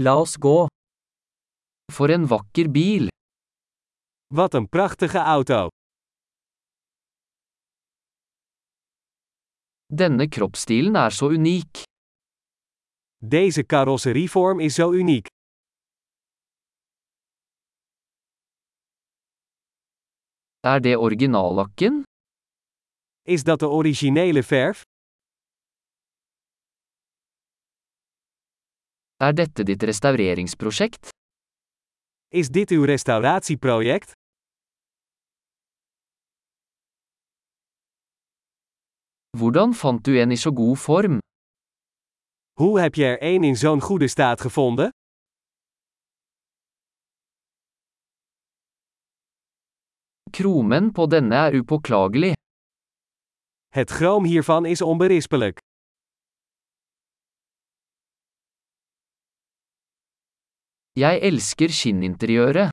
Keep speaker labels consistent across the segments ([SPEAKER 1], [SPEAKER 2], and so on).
[SPEAKER 1] La oss gå. For en vakker bil.
[SPEAKER 2] Wat een prachtige auto.
[SPEAKER 1] Denne kroppsstilen er så unik.
[SPEAKER 2] Deze carrosserievorm is zo uniek.
[SPEAKER 1] Er det originallakken?
[SPEAKER 2] Is dat de originele verf?
[SPEAKER 1] Er dette ditt restaureringsprosjekt?
[SPEAKER 2] Is dit uw restauratieproject?
[SPEAKER 1] Hvordan fant du en i så god form?
[SPEAKER 2] Hoe heb je er één in zo'n goede staat gevonden?
[SPEAKER 1] Kromen på denne er upåklagelig.
[SPEAKER 2] Het groom hiervan is onberispelijk.
[SPEAKER 1] Jeg elsker skinninteriøret.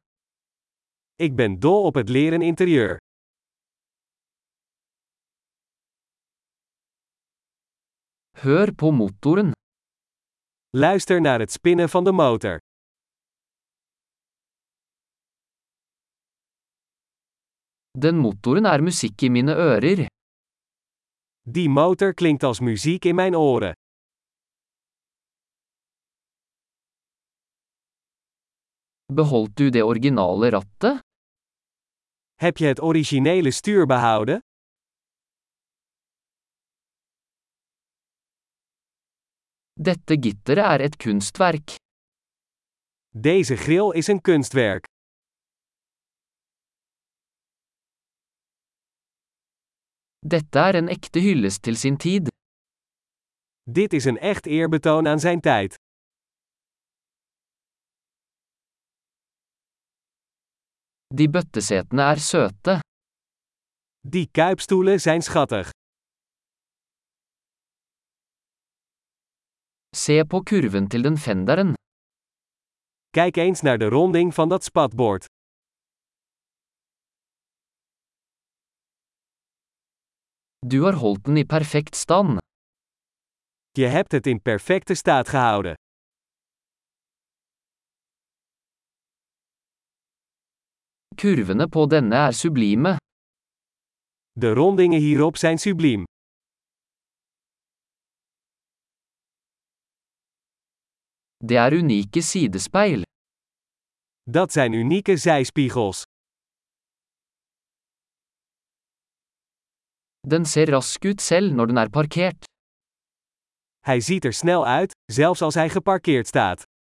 [SPEAKER 2] Ik ben dol op het leren interieur.
[SPEAKER 1] Hør på motoren.
[SPEAKER 2] Luister naar het spinnen van de motor.
[SPEAKER 1] Den motoren er musikk i mine ører.
[SPEAKER 2] Die motor klinkt als muziek in mijn oren.
[SPEAKER 1] Beholdt du det originale rattet?
[SPEAKER 2] Heb je het originele stuur behouden?
[SPEAKER 1] Dette gitteret er et kunstverk.
[SPEAKER 2] Deze grill is een kunstwerk.
[SPEAKER 1] Dette er en ekte hyllest til sin tid.
[SPEAKER 2] Dit is een echt eerbetoon aan zijn tijd.
[SPEAKER 1] De bøttesetene er søte.
[SPEAKER 2] Die kuipstoelen zijn schattig.
[SPEAKER 1] Se på kurven til den fenderen.
[SPEAKER 2] Kijk eens naar de ronding van dat spatbord.
[SPEAKER 1] Du har holdt den i perfekt stand.
[SPEAKER 2] Je hebt het in perfecte staat gehouden.
[SPEAKER 1] Kurvene på denne er sublime.
[SPEAKER 2] De rondingen hierop zijn subliem.
[SPEAKER 1] Det er unike sidespeil.
[SPEAKER 2] Dat zijn unieke zijspiegels.
[SPEAKER 1] Den ser rask ut selv når den er parkert.
[SPEAKER 2] Hij ziet er snel uit, zelfs als hij geparkeerd staat.